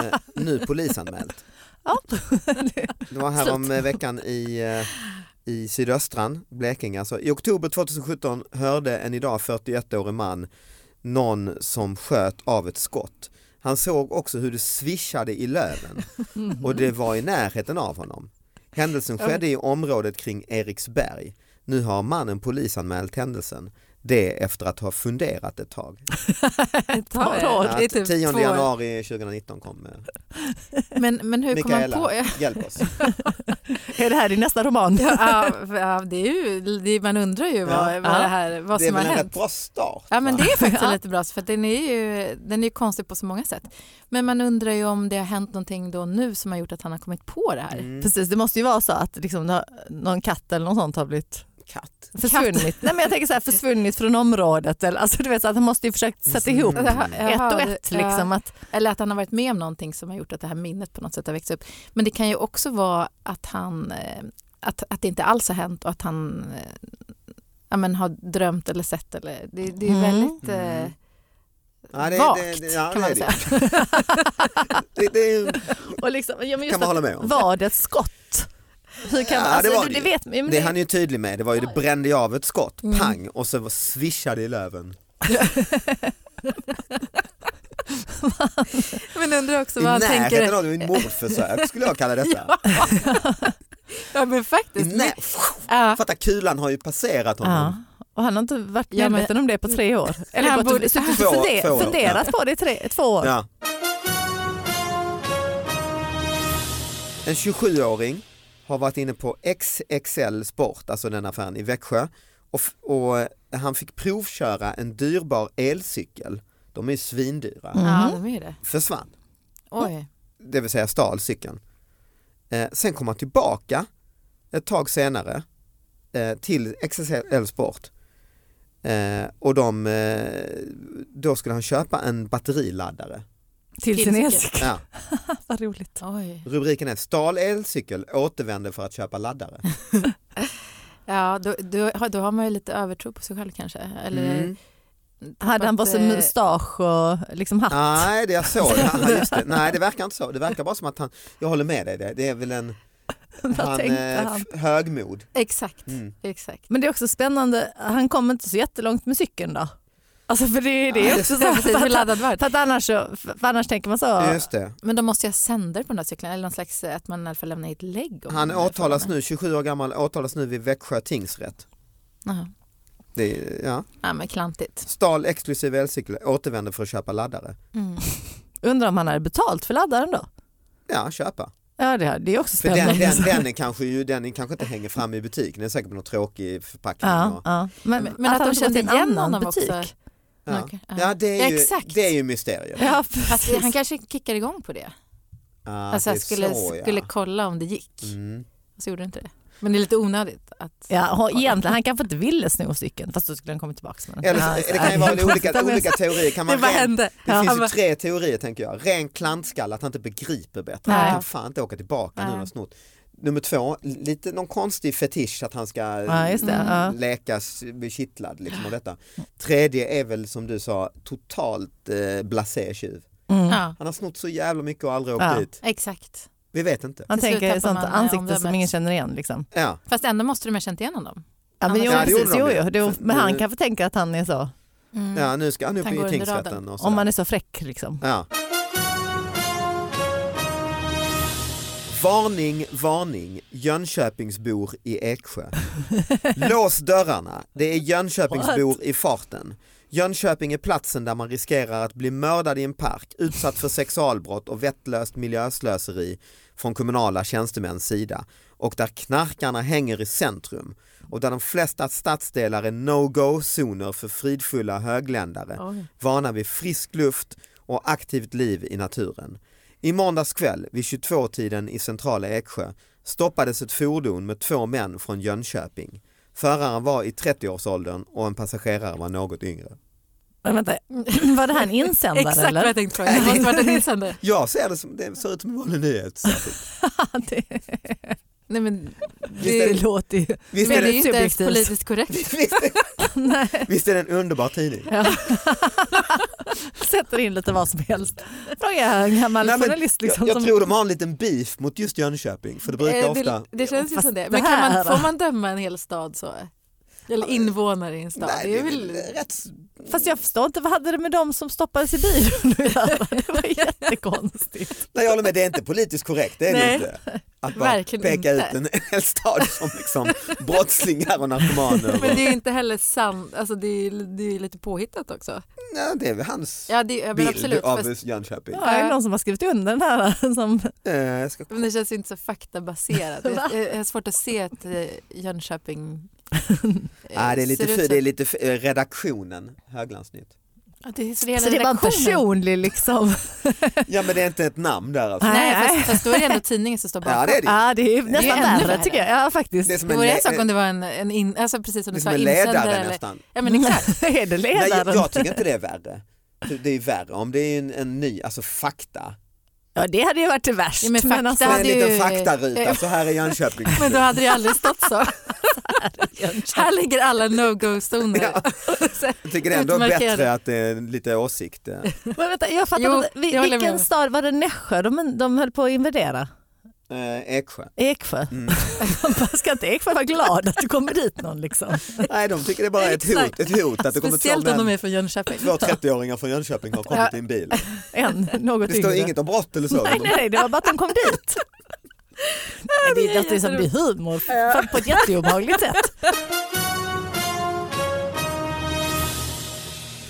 Speaker 2: eh, nu polisanmält.
Speaker 3: Ja.
Speaker 2: Det var här om eh, veckan i, eh, i sydöstran, Blekinge. Alltså, I oktober 2017 hörde en idag 41-årig man någon som sköt av ett skott. Han såg också hur det svischade i löven och det var i närheten av honom. Händelsen skedde i området kring Eriksberg. Nu har mannen polisanmält händelsen. Det efter att ha funderat ett tag.
Speaker 4: Ett
Speaker 3: par år.
Speaker 4: Det är typ
Speaker 2: 10
Speaker 4: två år.
Speaker 2: januari 2019 kom eh,
Speaker 4: Men, men hur kom han
Speaker 2: Mikaela,
Speaker 4: på?
Speaker 2: hjälp oss.
Speaker 3: Är det här din nästa roman?
Speaker 4: Ja, ja, det är ju, det är, man undrar ju vad,
Speaker 2: Ja.
Speaker 4: vad, det här, vad
Speaker 2: det är
Speaker 4: som har
Speaker 2: väl en
Speaker 4: hänt.
Speaker 2: rätt bra start?
Speaker 4: Ja men
Speaker 2: va?
Speaker 4: det är faktiskt lite bra för den är ju den är ju konstig på så många sätt. Men man undrar ju om det har hänt någonting då nu som har gjort att han har kommit på det här.
Speaker 2: Mm.
Speaker 3: Precis, det måste ju vara så att liksom, nå- någon katt eller något sånt har blivit
Speaker 2: Katt.
Speaker 3: försvunnit. Nej, men jag tänker så här, försvunnit från området. Eller, alltså, du vet, så att han måste ju försökt sätta ihop
Speaker 2: Mm.
Speaker 4: Jaha, jaha,
Speaker 3: ett och
Speaker 4: det-
Speaker 3: ett. Liksom, att,
Speaker 4: ja, eller att han har varit med om någonting som har gjort att det här minnet på något sätt har växt upp. Men det kan ju också vara att han eh, att, att det inte alls har hänt och att han eh, ja, men har drömt eller sett eller det, det är
Speaker 3: Mm.
Speaker 4: väldigt
Speaker 2: Mm.
Speaker 4: eh,
Speaker 2: Ja, det-
Speaker 4: vagt
Speaker 2: det- det- ja, det
Speaker 4: kan man
Speaker 2: är
Speaker 4: väl säga.
Speaker 2: Det, det är,
Speaker 3: och liksom, ja, men
Speaker 2: kan
Speaker 3: just
Speaker 2: man
Speaker 3: att,
Speaker 2: hålla med om.
Speaker 3: var det ett skott? Hur kan
Speaker 2: Ja,
Speaker 3: man, alltså,
Speaker 2: det var
Speaker 3: du,
Speaker 2: det
Speaker 3: du
Speaker 2: ju.
Speaker 3: vet, men
Speaker 2: Det är han ju tydlig med, det var ju det brände ju av ett skott,
Speaker 4: Mm.
Speaker 2: pang, och så var- svischade i löven.
Speaker 4: Mm. Men undrar också
Speaker 2: I
Speaker 4: vad han
Speaker 2: närheten
Speaker 4: tänker.
Speaker 2: av det, ett mordförsök skulle jag kalla detta.
Speaker 4: Ja men
Speaker 2: I
Speaker 4: faktiskt.
Speaker 2: när...
Speaker 4: Ja.
Speaker 2: Fatta kulan har ju passerat
Speaker 3: Ja.
Speaker 2: honom.
Speaker 3: Och han har inte varit
Speaker 4: Ja, men-
Speaker 3: medveten om det på tre år. Eller
Speaker 4: Han
Speaker 3: han borde,
Speaker 4: borde-
Speaker 3: suttit
Speaker 2: Två-
Speaker 3: och funde-
Speaker 2: två år, ja.
Speaker 3: funderat på det i tre, två år.
Speaker 2: Ja. En 27-åring har varit inne på XXL Sport, alltså den affären i Växjö, och, f- och eh, han fick provköra en dyrbar elcykel. De är ju svindyra.
Speaker 4: Ja,
Speaker 3: Mhm.
Speaker 4: de är det.
Speaker 2: Försvann.
Speaker 4: Oj.
Speaker 2: det vill säga stal cykeln. Eh, sen kom han tillbaka ett tag senare eh, till XXL Sport eh, och de, eh, då skulle han köpa en batteriladdare.
Speaker 3: Till sin
Speaker 4: Till
Speaker 3: elcykel.
Speaker 2: Ja,
Speaker 3: Vad roligt.
Speaker 4: Oj.
Speaker 2: rubriken är Stal elcykel återvände för att köpa laddare.
Speaker 4: Ja, då, då, har- då har man ju lite övertro på sig själv kanske. Eller
Speaker 2: Mm.
Speaker 3: Hade han bara
Speaker 4: Att,
Speaker 3: så
Speaker 4: eh,
Speaker 3: mustasch och liksom hatt?
Speaker 2: Nej, det jag såg. Ja, just det. Nej, det verkar inte så. Det verkar bara som att han, jag håller med dig, det, det är väl en
Speaker 3: Vad
Speaker 2: han,
Speaker 3: tänkte
Speaker 2: eh,
Speaker 3: han?
Speaker 2: f- högmod.
Speaker 4: Exakt,
Speaker 2: Mm.
Speaker 4: exakt.
Speaker 3: Men det är också spännande, han kom inte så jättelångt med cykeln då? Alltså för det är det
Speaker 2: Nej,
Speaker 3: är också
Speaker 4: Ja,
Speaker 3: så.
Speaker 4: precis, hur
Speaker 3: För att,
Speaker 4: laddad var det?
Speaker 3: för att annars, så, för annars tänker man så.
Speaker 2: Just det.
Speaker 4: Men de måste ju ha sänder på den där cykeln eller någon slags eh, att man i alla fall lämnar i ett lägg. om
Speaker 2: Han
Speaker 4: man är
Speaker 2: åtalas
Speaker 4: framme.
Speaker 2: nu, 27 år gammal, åtalas nu vid Växjö tingsrätt.
Speaker 4: Jaha.
Speaker 2: Det, är- ja.
Speaker 4: Ja men klantigt.
Speaker 2: Stal exklusiv elcykel, återvände för att köpa laddare.
Speaker 4: Mm.
Speaker 3: Undrar om han hade betalt för laddaren då?
Speaker 2: Ja, köpa.
Speaker 3: Ja, det, det är också
Speaker 2: För den,
Speaker 3: spännande.
Speaker 2: den, den, är kanske ju, den är kanske inte hänger fram i butiken, den är säkert på någon tråkig förpackning.
Speaker 3: ja,
Speaker 2: och,
Speaker 3: ja. Men,
Speaker 4: Men
Speaker 3: att,
Speaker 4: att de
Speaker 3: han kände
Speaker 4: kände
Speaker 3: till en
Speaker 4: igen
Speaker 3: annan
Speaker 4: honom också.
Speaker 3: butik.
Speaker 2: ja.
Speaker 4: Okej, ja.
Speaker 2: ja det är ju,
Speaker 4: Exakt.
Speaker 2: det är ju mysteriet.
Speaker 3: Ja,
Speaker 4: Fast
Speaker 3: precis.
Speaker 4: han kanske kickar igång på det.
Speaker 2: Ja,
Speaker 4: alltså
Speaker 2: det är
Speaker 4: jag skulle,
Speaker 2: så, ja.
Speaker 4: skulle kolla om det gick.
Speaker 2: Mm.
Speaker 4: Och så gjorde det inte det. Men det är lite onödigt att...
Speaker 3: Ja, hon, egentligen, han kanske inte ville sno cykeln fast då skulle han kommit tillbaka med den.
Speaker 2: Eller,
Speaker 3: ja,
Speaker 2: så- det kan ju vara olika, olika teorier. Kan man
Speaker 3: Det bara
Speaker 2: ren-
Speaker 3: hände.
Speaker 2: Det
Speaker 3: Ja,
Speaker 2: finns
Speaker 3: han
Speaker 2: ju
Speaker 3: bara-
Speaker 2: tre teorier tänker jag. Ren klantskalle, att han inte begriper bättre.
Speaker 3: Nej.
Speaker 2: Han kan fan inte åka tillbaka nu när han har snott. Nummer två, lite någon konstig fetisch att han ska
Speaker 3: Ja, just det. Ja.
Speaker 2: läkas, bli kittlad. Liksom, och detta. Tredje är väl som du sa, totalt eh, blasé tjuv.
Speaker 3: Mm.
Speaker 4: Ja,
Speaker 2: Han har snott så jävla mycket och aldrig åkt
Speaker 3: Ja.
Speaker 2: dit.
Speaker 4: exakt.
Speaker 2: Vi vet inte.
Speaker 3: Han
Speaker 4: Till slut
Speaker 3: tänker
Speaker 4: tappar
Speaker 3: sånt
Speaker 4: man, eh,
Speaker 3: ansikte
Speaker 4: omdömet.
Speaker 3: som ingen känner igen. Liksom.
Speaker 2: Ja.
Speaker 4: Fast ändå måste de ha känt igen honom.
Speaker 3: Ja, men,
Speaker 4: Ja,
Speaker 3: jo,
Speaker 4: det
Speaker 3: precis,
Speaker 2: gjorde de
Speaker 3: jo,
Speaker 2: ju.
Speaker 3: jo, jo, men han
Speaker 2: Mm.
Speaker 3: kanske tänker att han är så,
Speaker 4: Mm.
Speaker 2: ja, nu ska han upp
Speaker 4: Han går
Speaker 2: i
Speaker 4: under
Speaker 2: tingsrätten.
Speaker 4: radarn.
Speaker 2: Och
Speaker 3: om
Speaker 2: sådär.
Speaker 3: man är så fräck liksom.
Speaker 2: Ja. Varning, varning, Jönköpingsbor i Eksjö. Lås dörrarna, det är Jönköpingsbor i farten. Jönköping är platsen där man riskerar att bli mördad i en park, utsatt för sexualbrott och vettlöst miljöslöseri från kommunala tjänstemäns sida och där knarkarna hänger i centrum och där de flesta stadsdelar är no-go-zoner för fridfulla högländare
Speaker 4: Oj.
Speaker 2: vana vid frisk luft och aktivt liv i naturen. I måndags kväll vid 22-tiden i centrala Eksjö stoppades ett fordon med två män från Jönköping. Föraren var i 30-årsåldern och en passagerare var något yngre.
Speaker 3: Men vänta, var det här en insändare
Speaker 4: Exakt vad
Speaker 3: eller?
Speaker 4: jag tänkte fråga. Det måste varit en insändare.
Speaker 2: Jag ser det som, det ser ut som en vanlig nyhet.
Speaker 3: det,
Speaker 4: Nej, men det,
Speaker 2: Visst
Speaker 3: det låter ju...
Speaker 2: Visst
Speaker 4: men
Speaker 2: är
Speaker 4: det
Speaker 2: det,
Speaker 4: är ju inte ens
Speaker 3: subjektivt.
Speaker 4: politiskt korrekt.
Speaker 2: visst, är- visst är det en underbar tidning?
Speaker 3: Sätter in lite vad som helst. Fråga en gammal
Speaker 2: Nej, men
Speaker 3: journalist liksom.
Speaker 2: jag, jag
Speaker 3: som-
Speaker 2: tror de har en liten beef mot just Jönköping för det brukar
Speaker 4: Eh,
Speaker 2: ofta...
Speaker 4: det, det känns ju
Speaker 3: Fast
Speaker 4: som det.
Speaker 3: det
Speaker 4: Men kan
Speaker 3: här-
Speaker 4: man, får man döma en hel stad så? Eller invånare i en stad?
Speaker 2: Nej,
Speaker 4: det är väl...
Speaker 2: rätt...
Speaker 3: Fast jag förstår inte, vad hade det med dem som stoppades i bilen att göra? Det var jättekonstigt.
Speaker 2: Nej, jag håller med, det är inte politiskt korrekt. Det är det
Speaker 4: Nej.
Speaker 2: inte. Att bara
Speaker 4: Verkligen
Speaker 2: peka
Speaker 4: inte.
Speaker 2: ut en hel stad som liksom brottslingar och narkomaner.
Speaker 4: Men
Speaker 2: Och,
Speaker 4: det är ju inte heller sant. Alltså, det, är, det är lite påhittat också.
Speaker 2: nej, det är väl hans
Speaker 4: Ja, det, jag
Speaker 2: bild
Speaker 4: menar absolut.
Speaker 2: av
Speaker 4: Fast,
Speaker 2: Jönköping.
Speaker 3: Ja, är det någon som har skrivit under den här? Som,
Speaker 2: Eh, jag ska,
Speaker 4: men det känns ju inte så faktabaserat. Jag, jag, jag har svårt att se att eh, Jönköping... eh,
Speaker 2: nej, det är lite,
Speaker 4: ser ut
Speaker 2: för,
Speaker 4: så.
Speaker 2: det är lite för, eh, redaktionen, Höglandsnytt.
Speaker 4: Ja, det är, så det är
Speaker 3: så det var en personlig liksom...
Speaker 2: Ja men det är inte ett namn där alltså.
Speaker 4: Nej,
Speaker 3: Nej.
Speaker 4: fast, fast då är det ändå tidningen som står bakom.
Speaker 2: Ja det är det. ju.
Speaker 3: Ja, det är ju nästan
Speaker 4: ännu
Speaker 3: värre
Speaker 4: värre.
Speaker 3: tycker jag. Ja, faktiskt.
Speaker 2: Det är
Speaker 3: Det
Speaker 2: som
Speaker 4: Det
Speaker 2: en,
Speaker 4: vore
Speaker 2: le-
Speaker 4: en sak om
Speaker 2: eh,
Speaker 4: det var en, en in, alltså precis som
Speaker 2: det är
Speaker 4: du
Speaker 2: som
Speaker 4: sa,
Speaker 2: en ledare
Speaker 4: insändare. Eller,
Speaker 2: nästan.
Speaker 4: ja, men exakt.
Speaker 3: är det
Speaker 2: Mm. Nej, jag,
Speaker 3: ledaren?
Speaker 2: jag tycker inte det är värre. Det är ju värre om det är en, en ny, alltså fakta.
Speaker 3: Ja, det hade ju varit det värst.
Speaker 4: Ja, men fakta
Speaker 3: alltså,
Speaker 4: Det
Speaker 2: en
Speaker 4: hade
Speaker 2: liten
Speaker 4: ju-
Speaker 2: faktaruta, så här är Jönköping.
Speaker 4: Men då hade det ju aldrig stått så. Här ligger alla no-go-zoner.
Speaker 2: Ja. jag tycker det är ändå
Speaker 4: utmarkerade.
Speaker 2: bättre att det är lite åsikt. eh.
Speaker 3: men vänta, jag fattar
Speaker 4: Jo,
Speaker 3: inte. Vi,
Speaker 4: jag håller
Speaker 3: vilken
Speaker 4: med.
Speaker 3: stad var det Nässjö de, de höll på att invadera?
Speaker 2: Eh, Eksjö.
Speaker 3: Eksjö.
Speaker 2: Mm.
Speaker 3: Ska inte Eksjö vara glad att det kommer dit någon liksom?
Speaker 2: Nej, de tycker det är bara är ett hot,
Speaker 4: Exakt.
Speaker 2: ett hot att det kommer
Speaker 4: Speciellt
Speaker 2: två
Speaker 4: om de
Speaker 2: män.
Speaker 4: är från Jönköping.
Speaker 2: Två 30-åringar från Jönköping har kommit i en bil.
Speaker 3: En, något
Speaker 2: Det står
Speaker 3: yngre.
Speaker 2: inget om brott eller så.
Speaker 3: Nej, nej, nej, det var bara att de kom dit. Nej, det låter ju som det är humor fan, på ett jätteobehagligt sätt.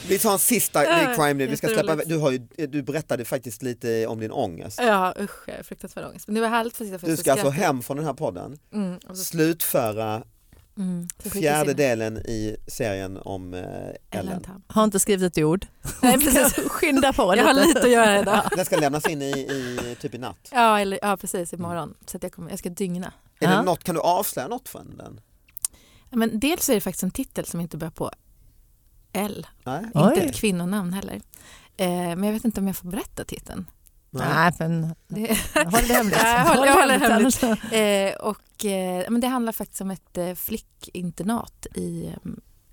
Speaker 2: Vi tar en sista
Speaker 4: Ja,
Speaker 2: i crime nu. Vi ska släppa,
Speaker 4: jätteroligt.
Speaker 2: du, har ju, du berättade faktiskt lite om din ångest.
Speaker 4: Ja usch, jag är fruktansvärd ångest. Men det var härligt för att sitta
Speaker 2: Du
Speaker 4: faktiskt
Speaker 2: ska
Speaker 4: och
Speaker 2: alltså
Speaker 4: skratta.
Speaker 2: hem från den här podden,
Speaker 4: Mm, och så-
Speaker 2: slutföra
Speaker 4: mm, så skickas
Speaker 2: fjärde
Speaker 4: in.
Speaker 2: delen i serien om eh,
Speaker 4: Ellen
Speaker 2: Ellen.
Speaker 4: Tam.
Speaker 3: Har inte skrivit ett ord.
Speaker 4: Nej precis,
Speaker 3: Skynda på
Speaker 4: jag har lite att göra idag.
Speaker 2: Den ska lämnas in i, i typ i natt.
Speaker 4: Ja, eller, ja precis imorgon. Så att jag, kommer, jag ska dygna.
Speaker 2: Är det
Speaker 3: Ja.
Speaker 2: något, kan du avslöja något från den?
Speaker 4: Men dels är det faktiskt en titel som inte börjar på L.
Speaker 2: Nej.
Speaker 3: Oj.
Speaker 4: Inte ett kvinnonamn heller. Eh, men jag vet inte om jag får berätta titeln.
Speaker 2: Nej.
Speaker 3: Nej, men
Speaker 4: Det,
Speaker 3: håll det hemligt.
Speaker 4: Ja, jag håller- jag håller det hemligt.
Speaker 3: annars-
Speaker 4: eh, och, eh, men det handlar faktiskt om ett eh, flickinternat i, eh,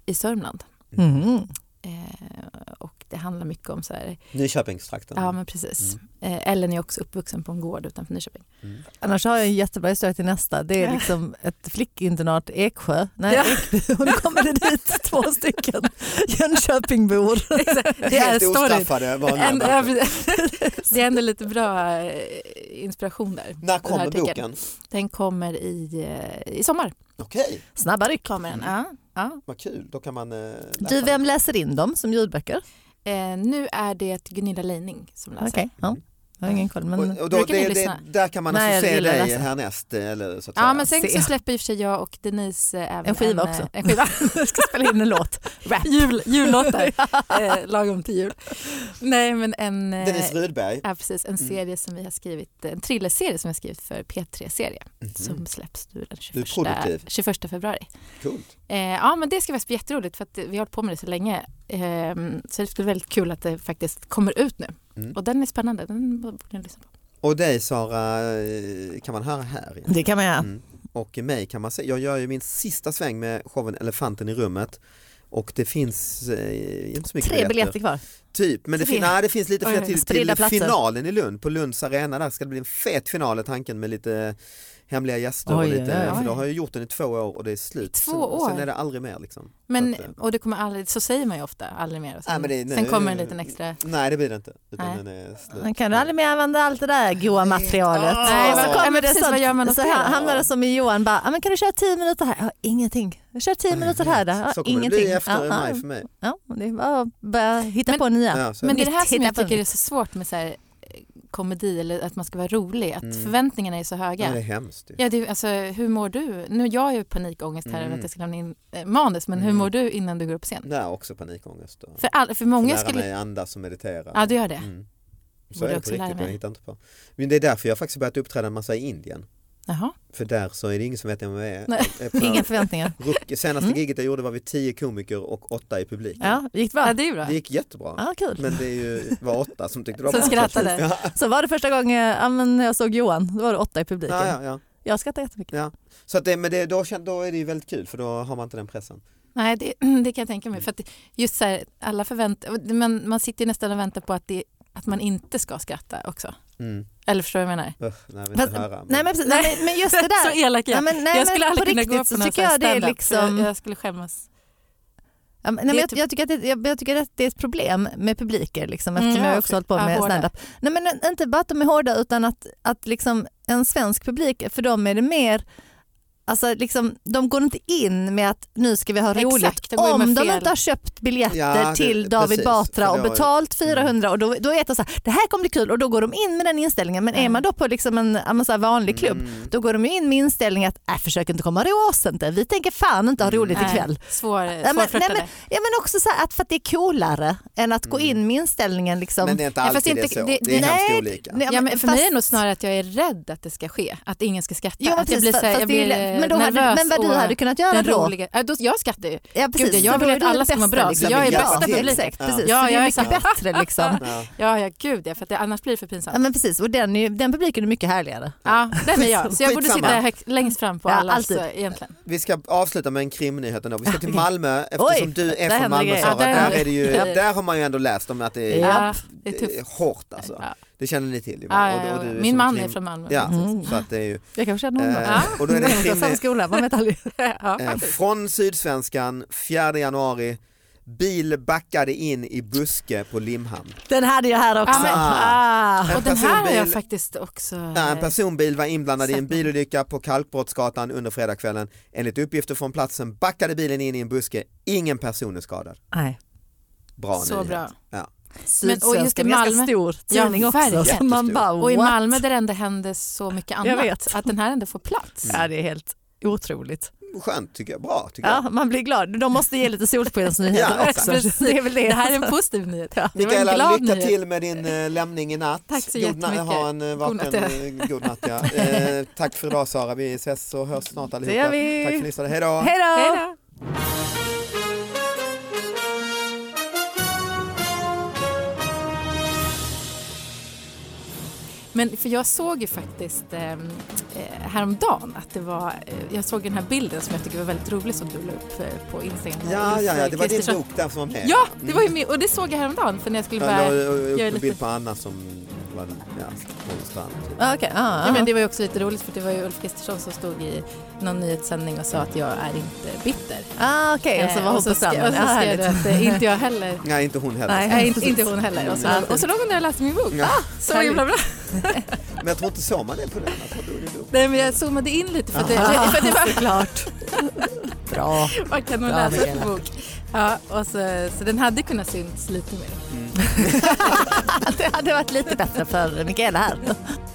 Speaker 4: i Sörmland.
Speaker 3: Mm.
Speaker 4: Eh, och det handlar mycket om så här,
Speaker 2: Nyköpingstrakten.
Speaker 4: ja men precis. Eh, Ellen är också uppvuxen på en gård utanför Nyköping.
Speaker 2: Mm.
Speaker 3: Annars har jag en jättebra historia till nästa. Det är liksom ett flickinternat i Eksjö. Nej,
Speaker 4: Ja.
Speaker 3: Ekby. Och nu kommer det dit två stycken Jönköpingbor.
Speaker 4: Det är
Speaker 2: Helt
Speaker 4: storyn.
Speaker 2: ostraffade var den här
Speaker 4: Ändå,
Speaker 2: boken.
Speaker 4: det är ändå lite bra eh, inspiration där.
Speaker 2: När
Speaker 4: den här
Speaker 2: kommer
Speaker 4: artikeln.
Speaker 2: boken?
Speaker 4: Den kommer i, eh, i sommar.
Speaker 2: Okej,
Speaker 3: Snabba ryck.
Speaker 4: Kommer den. Ja, ja.
Speaker 2: vad kul. Då kan man eh, läsa
Speaker 3: Du,
Speaker 2: den.
Speaker 3: vem läser in dem som ljudböcker?
Speaker 4: Eh, nu är det Gunilla Leining som läser.
Speaker 3: Okej, ja. Jag har ingen koll. Men...
Speaker 2: och, och då,
Speaker 4: brukar ni
Speaker 2: det, det,
Speaker 4: lyssna?
Speaker 2: där kan man
Speaker 3: Nej,
Speaker 2: alltså
Speaker 3: jag
Speaker 2: se
Speaker 3: gillar
Speaker 2: dig
Speaker 3: att läsa.
Speaker 2: härnäst. eh, Eller, så att
Speaker 4: Ja
Speaker 2: säga.
Speaker 4: men sen
Speaker 3: Se.
Speaker 4: så släpper i och för sig jag och Denise eh, även
Speaker 3: En skiva
Speaker 4: eh,
Speaker 3: också.
Speaker 4: En skiva.
Speaker 3: jag ska spela in en låt. Rap.
Speaker 4: Jul, jullåtar eh, lagom till jul. Nej men en, eh,
Speaker 2: Denise Rudberg.
Speaker 4: ja, precis, en
Speaker 2: Mm.
Speaker 4: serie som vi har skrivit, en thrillerserie som vi har skrivit för P3-serie
Speaker 2: Mhm.
Speaker 4: som släpps nu den
Speaker 2: Du är
Speaker 4: 21,
Speaker 2: produktiv.
Speaker 4: 21 februari.
Speaker 2: Coolt.
Speaker 4: Eh, ja men det ska vara jätteroligt för att eh, vi har hållit på med det så länge. Eh, så det skulle vara väldigt kul att det faktiskt kommer ut nu.
Speaker 2: Mm.
Speaker 4: Och den är spännande, den borde ni lyssna på.
Speaker 2: Och dig Sara eh, kan man höra här. igen.
Speaker 3: Det kan man göra.
Speaker 2: Mm. Och mig kan man se. Jag gör ju min sista sväng med showen Elefanten i rummet och det finns eh, inte så mycket
Speaker 3: Tre biljetter kvar.
Speaker 2: Typ, men det,
Speaker 4: Tre.
Speaker 2: fin- nej, det finns lite
Speaker 4: Oj,
Speaker 2: fler
Speaker 4: oj,
Speaker 2: till,
Speaker 3: spridda
Speaker 2: till
Speaker 3: platser.
Speaker 2: finalen i Lund på Lunds arena. Där ska det bli en fet final är tanken med lite hemliga gäster. och
Speaker 3: Oj,
Speaker 2: lite,
Speaker 3: oj, oj.
Speaker 2: För då har jag gjort den i två år och det är slut.
Speaker 4: Två
Speaker 2: Sen- och Sen
Speaker 4: år?
Speaker 2: är det aldrig mer liksom.
Speaker 4: Men,
Speaker 2: Så att, eh,
Speaker 4: och det kommer aldrig, så säger man ju ofta, aldrig mer. Och
Speaker 2: Nej,
Speaker 4: sen,
Speaker 2: men det-
Speaker 4: sen
Speaker 2: nu-
Speaker 4: kommer en liten extra.
Speaker 2: Nej det blir det inte. Utan
Speaker 4: Nej.
Speaker 2: den är slut.
Speaker 3: Han kan aldrig mer använda allt det där goa materialet.
Speaker 2: Ah. Nej, vad-
Speaker 4: ja, men precis, vad gör man åt
Speaker 3: så
Speaker 4: det
Speaker 3: här,
Speaker 4: då?
Speaker 3: hamnar det som i Johan bara, "Ah, men kan du köra tio minuter här? Jag har ingenting. Jag kör tio
Speaker 2: Nej,
Speaker 3: minuter här. Där. Jag har
Speaker 2: Så kommer
Speaker 3: ingenting.
Speaker 2: det bli efter
Speaker 3: Ja,
Speaker 2: maj för mig.
Speaker 3: ja, ja, det är bara att börja hitta
Speaker 4: Men-
Speaker 3: på nya.
Speaker 2: Ja, så är
Speaker 4: Men det är
Speaker 3: Nytt,
Speaker 4: det här som
Speaker 3: hitta
Speaker 4: jag
Speaker 3: på
Speaker 4: tycker
Speaker 3: nytt.
Speaker 4: är så svårt med så här, eh, komedi eller att man ska vara rolig, att
Speaker 2: Mm.
Speaker 4: förväntningarna är så
Speaker 2: Ja, det är
Speaker 4: höga.
Speaker 2: hemskt. ju.
Speaker 4: Ja, det, är- alltså, hur mår du? Nu, jag har ju panikångest här över
Speaker 2: Mm.
Speaker 4: att jag ska lämna in eh, manus, men hur
Speaker 2: Mm.
Speaker 4: mår du innan du går upp på scen?
Speaker 2: Nej, också panikångest. Och
Speaker 4: För, all, för många
Speaker 2: lära
Speaker 4: skulle...
Speaker 2: mig andas och meditera.
Speaker 4: Ja, du gör det.
Speaker 2: Mm. Så
Speaker 4: Borde
Speaker 2: är det på
Speaker 4: också lära
Speaker 2: riktigt, men jag
Speaker 4: mig.
Speaker 2: hittar inte på. Men det är därför jag faktiskt börjat uppträda en massa i Indien.
Speaker 4: Jaha.
Speaker 2: För där så är det ingen som vet vem jag är.
Speaker 4: Nej.
Speaker 2: Jag är på-
Speaker 3: Inga förväntningar.
Speaker 2: Ruck- Senaste
Speaker 3: Mm.
Speaker 2: giget jag gjorde var vi tio komiker och åtta i publiken.
Speaker 3: Ja, gick det bra?
Speaker 4: Ja, det är ju bra.
Speaker 2: Det gick jättebra.
Speaker 3: Ja, kul.
Speaker 2: Men det är ju, var åtta som tyckte det var
Speaker 4: Som
Speaker 2: bra.
Speaker 4: skrattade.
Speaker 2: Ja,
Speaker 3: Så var det första gången ja, men jag såg Johan, då var det åtta i publiken.
Speaker 2: ja, ja, ja.
Speaker 3: Jag skrattade jättemycket.
Speaker 2: Så att det, men det, då, kän- då är det ju väldigt kul för då har man inte den pressen.
Speaker 4: Nej, det, det kan jag tänka mig. För att just så här, alla förvänt... Men man sitter ju nästan och väntar på att, det, att man inte ska skratta också.
Speaker 2: Mm.
Speaker 4: Eller förstår du vad jag menar?
Speaker 2: Usch, nej, jag vill inte
Speaker 3: Fast-
Speaker 2: höra.
Speaker 3: Nej men, precis, nej, men- men just det där.
Speaker 4: Så elak jag
Speaker 3: Ja,
Speaker 4: är.
Speaker 3: men, nej,
Speaker 4: jag skulle
Speaker 3: men
Speaker 4: aldrig
Speaker 3: på
Speaker 4: kunna
Speaker 3: riktigt
Speaker 4: gå på
Speaker 3: så
Speaker 4: någon
Speaker 3: tycker
Speaker 4: sån här
Speaker 3: jag det är
Speaker 4: stand-up, för
Speaker 3: liksom...
Speaker 4: Jag, jag skulle skämmas.
Speaker 3: Ja, men, nej,
Speaker 4: Det
Speaker 3: men
Speaker 4: är
Speaker 3: jag,
Speaker 4: typ-
Speaker 3: jag, tycker att det, jag, jag tycker att det är ett problem med publiker liksom,
Speaker 4: Mm,
Speaker 3: eftersom
Speaker 4: ja,
Speaker 3: jag också
Speaker 4: okej.
Speaker 3: hållit på
Speaker 4: Ja,
Speaker 3: med
Speaker 4: hårda.
Speaker 3: standup. Nej men en- inte bara att de är hårda utan att, att liksom en svensk publik, för dem är det mer Alltså liksom, de går inte in med att nu ska vi ha
Speaker 4: Exakt,
Speaker 3: roligt
Speaker 4: de går in
Speaker 3: om
Speaker 4: med
Speaker 3: de
Speaker 4: fel.
Speaker 3: inte har köpt biljetter
Speaker 2: Ja, det-
Speaker 3: till David
Speaker 2: precis,
Speaker 3: Batra
Speaker 2: för
Speaker 3: och
Speaker 2: det Mm. har-
Speaker 3: betalt 400 och då, då vet de så här, det här kommer bli kul och då går de in med den inställningen. Men är
Speaker 4: Mm.
Speaker 3: man då på liksom en, ja, men så här vanlig klubb
Speaker 2: Mm.
Speaker 3: då går de ju in med inställningen att äh, försök inte komma rås inte, vi tänker fan inte ha roligt
Speaker 4: Nej,
Speaker 3: ikväll.
Speaker 4: Svår,
Speaker 3: men-
Speaker 4: Eh, svårflörtade.
Speaker 3: nej, Ja men också så här att för att det är coolare än att gå
Speaker 2: Mm.
Speaker 3: in med inställningen liksom.
Speaker 2: Men det är inte
Speaker 4: Nej,
Speaker 2: alltid
Speaker 4: fast
Speaker 2: det är
Speaker 4: inte-
Speaker 2: så. Det,
Speaker 4: det-
Speaker 2: är hemskt
Speaker 3: nej,
Speaker 2: olika.
Speaker 3: nej,
Speaker 4: Ja, men för mig är det nog
Speaker 3: fast-
Speaker 4: snarare att jag är rädd att det ska ske, att ingen ska skratta.
Speaker 3: Jo, men
Speaker 4: att jag
Speaker 3: precis,
Speaker 4: blir, så här,
Speaker 3: fast
Speaker 4: jag
Speaker 3: det är ju
Speaker 4: blir eh,
Speaker 3: lätt.
Speaker 4: nervös.
Speaker 3: men, då hade, men vad
Speaker 4: och
Speaker 3: du hade kunnat göra
Speaker 4: den
Speaker 3: då?
Speaker 4: roliga, ja, då? Jag skrattar ju.
Speaker 3: Ja, precis,
Speaker 4: Gud, jag
Speaker 3: så
Speaker 4: vill
Speaker 3: då
Speaker 4: ju att
Speaker 3: är du
Speaker 4: alla
Speaker 3: det
Speaker 4: ska må
Speaker 3: bästa,
Speaker 4: bra, så jag är
Speaker 3: Ja,
Speaker 4: bästa
Speaker 3: ja,
Speaker 4: publiken.
Speaker 3: Exakt,
Speaker 2: Ja.
Speaker 3: precis.
Speaker 4: Ja,
Speaker 3: så det
Speaker 4: jag
Speaker 3: är
Speaker 4: är
Speaker 3: mycket
Speaker 4: så-
Speaker 3: bättre liksom.
Speaker 2: Ja.
Speaker 4: Ja, ja gud ja, för att det, annars blir det för pinsamt.
Speaker 3: Ja, men precis, och den, är ju, den publiken är mycket härligare.
Speaker 4: Ja, den är jag. Så jag borde sitta
Speaker 2: Skitsamma.
Speaker 4: högt, längst fram på
Speaker 3: Ja,
Speaker 4: alla
Speaker 3: alltid.
Speaker 4: så, egentligen.
Speaker 2: Vi ska avsluta med en krimnyhet ändå. Vi ska till Malmö eftersom
Speaker 3: Oj,
Speaker 2: du
Speaker 3: där
Speaker 2: är
Speaker 3: händer
Speaker 2: från Malmö.
Speaker 3: grejer.
Speaker 2: Sara.
Speaker 4: Ja, där
Speaker 2: där,
Speaker 4: händer
Speaker 2: är det ju,
Speaker 4: grejer.
Speaker 2: där har man ju ändå läst om att det är,
Speaker 3: Ja.
Speaker 4: det är tufft.
Speaker 2: hårt alltså.
Speaker 4: Ja.
Speaker 2: Det känner ni till. ju.
Speaker 4: Ja,
Speaker 2: Och-
Speaker 4: ja,
Speaker 2: och du
Speaker 4: ja.
Speaker 2: är
Speaker 4: Min
Speaker 2: som
Speaker 4: man
Speaker 2: krim-
Speaker 4: är från Malmö.
Speaker 2: Ja,
Speaker 3: Mm.
Speaker 2: så att det är ju.
Speaker 3: Jag kanske känner honom
Speaker 2: Eh, och då är det en
Speaker 3: då. Samma
Speaker 2: krimnyhet.
Speaker 3: skola, man vet aldrig.
Speaker 4: Ja,
Speaker 2: Eh,
Speaker 4: faktiskt.
Speaker 2: Från Sydsvenskan, 4 januari. Bil backade in i buske på Limhamn.
Speaker 3: Den hade jag här också.
Speaker 4: Ja, men-
Speaker 3: ah.
Speaker 2: En
Speaker 4: Och den här har jag
Speaker 2: personbil-
Speaker 4: faktiskt också... eh,
Speaker 2: Ja, en personbil var inblandad i en
Speaker 4: Sätt.
Speaker 2: bilolycka på Kalkbrottsgatan under fredagskvällen. Enligt uppgifter från platsen backade bilen in i en buske. Ingen person är skadad.
Speaker 3: Nej.
Speaker 2: Bra
Speaker 4: Så
Speaker 2: nyhet.
Speaker 4: bra.
Speaker 2: Ja.
Speaker 3: Sydsvenskan,
Speaker 4: Men- och just i
Speaker 3: ganska
Speaker 4: Malmö-
Speaker 3: stor
Speaker 4: Ja,
Speaker 3: tidning också. Så
Speaker 4: verkligen.
Speaker 3: man bara,
Speaker 2: Oh,
Speaker 4: Och i
Speaker 3: what?
Speaker 4: Malmö där det ändå händer så mycket
Speaker 3: Jag
Speaker 4: annat,
Speaker 3: vet.
Speaker 4: att den här ändå får plats.
Speaker 2: Mm.
Speaker 3: Ja, det är helt otroligt.
Speaker 2: Skönt tycker jag. Bra tycker jag.
Speaker 3: Ja, man blir glad. De måste ge lite solskensnyheter
Speaker 2: Ja,
Speaker 3: också.
Speaker 4: precis.
Speaker 3: Det är väl det.
Speaker 4: Det här är en positiv nyhet. Det var en
Speaker 2: Mikaela,
Speaker 4: glad
Speaker 2: lycka
Speaker 4: nyhet.
Speaker 2: till med din eh, lämning i natt.
Speaker 4: Tack så
Speaker 2: God na-
Speaker 4: jättemycket.
Speaker 2: Ha en eh, vaken,
Speaker 4: natt,
Speaker 2: eh, god natt. Ja. Eh, tack för idag Sara, vi ses och hörs snart allihopa.
Speaker 3: gör vi.
Speaker 2: Tack för att ni lyssnade, hej då!
Speaker 3: Hej
Speaker 4: Hej
Speaker 3: då!
Speaker 4: då! Men för jag såg ju faktiskt eh, häromdagen att det var, eh, jag såg den här bilden som jag tycker var väldigt rolig som du la upp eh, på Instagram.
Speaker 2: Ja, ja, ja, det var din
Speaker 4: Kristersson.
Speaker 2: bok där som var med. Mm.
Speaker 4: Ja, det var ju min, och det såg jag häromdagen för när jag skulle
Speaker 2: Jag
Speaker 4: börja,
Speaker 2: la upp
Speaker 4: gör
Speaker 2: en
Speaker 4: lite-
Speaker 2: bild på Anna som var ja, på en strand.
Speaker 3: Ah, Okej, ah,
Speaker 4: ja men det var ju också lite roligt för det var ju Ulf Kristersson som stod i någon nyhetssändning och sa att jag är inte bitter.
Speaker 3: ah, okej. och så
Speaker 4: Eh,
Speaker 3: var hon
Speaker 4: så
Speaker 3: på
Speaker 4: skrev- Och
Speaker 3: stranden.
Speaker 4: så
Speaker 3: Ja,
Speaker 4: skrev
Speaker 3: härligt.
Speaker 4: du att eh, inte jag heller.
Speaker 2: Nej, inte hon heller.
Speaker 3: Nej.
Speaker 4: Nej, inte, inte hon heller. Och så,
Speaker 3: Mm.
Speaker 4: och så låg hon där och läste min bok. Ah,
Speaker 2: Ja.
Speaker 4: Så himla bra.
Speaker 2: Men jag tror inte såg man det på den. Jag tror det var din bok.
Speaker 4: Nej men jag zoomade in lite för att det, för att det var...
Speaker 3: Såklart. Bra.
Speaker 4: Man kan nog
Speaker 3: Bra,
Speaker 4: läsa
Speaker 3: Mikaela.
Speaker 4: en bok. Ja, och så, så den hade kunnat syns lite mer.
Speaker 3: Det hade varit lite bättre för Mikaela här.